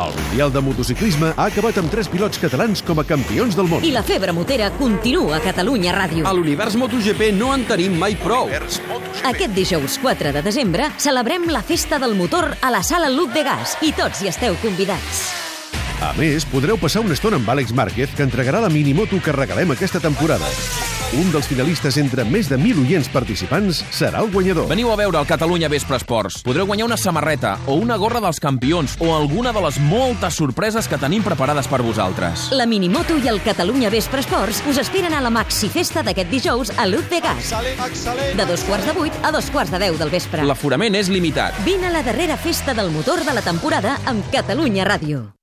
El Mundial de Motociclisme ha acabat amb tres pilots catalans com a campions del món. I la febre motera continua a Catalunya Ràdio. A l'univers MotoGP no en tenim mai prou. Aquest dijous 4 de desembre celebrem la Festa del Motor a la Sala Luc de Gas i tots hi esteu convidats. A més, podreu passar una estona amb Àlex Márquez, que entregarà la minimoto que regalem aquesta temporada. Un dels finalistes entre més de 1.000 oients participants serà el guanyador. Veniu a veure el Catalunya Vespre Esports. Podreu guanyar una samarreta o una gorra dels campions o alguna de les moltes sorpreses que tenim preparades per vosaltres. La Minimoto i el Catalunya Vespre Esports us esperen a la Maxi Festa d'aquest dijous a Lut de Gas. De dos quarts de vuit a dos quarts de deu del vespre. L'aforament és limitat. Vine a la darrera festa del motor de la temporada amb Catalunya Ràdio.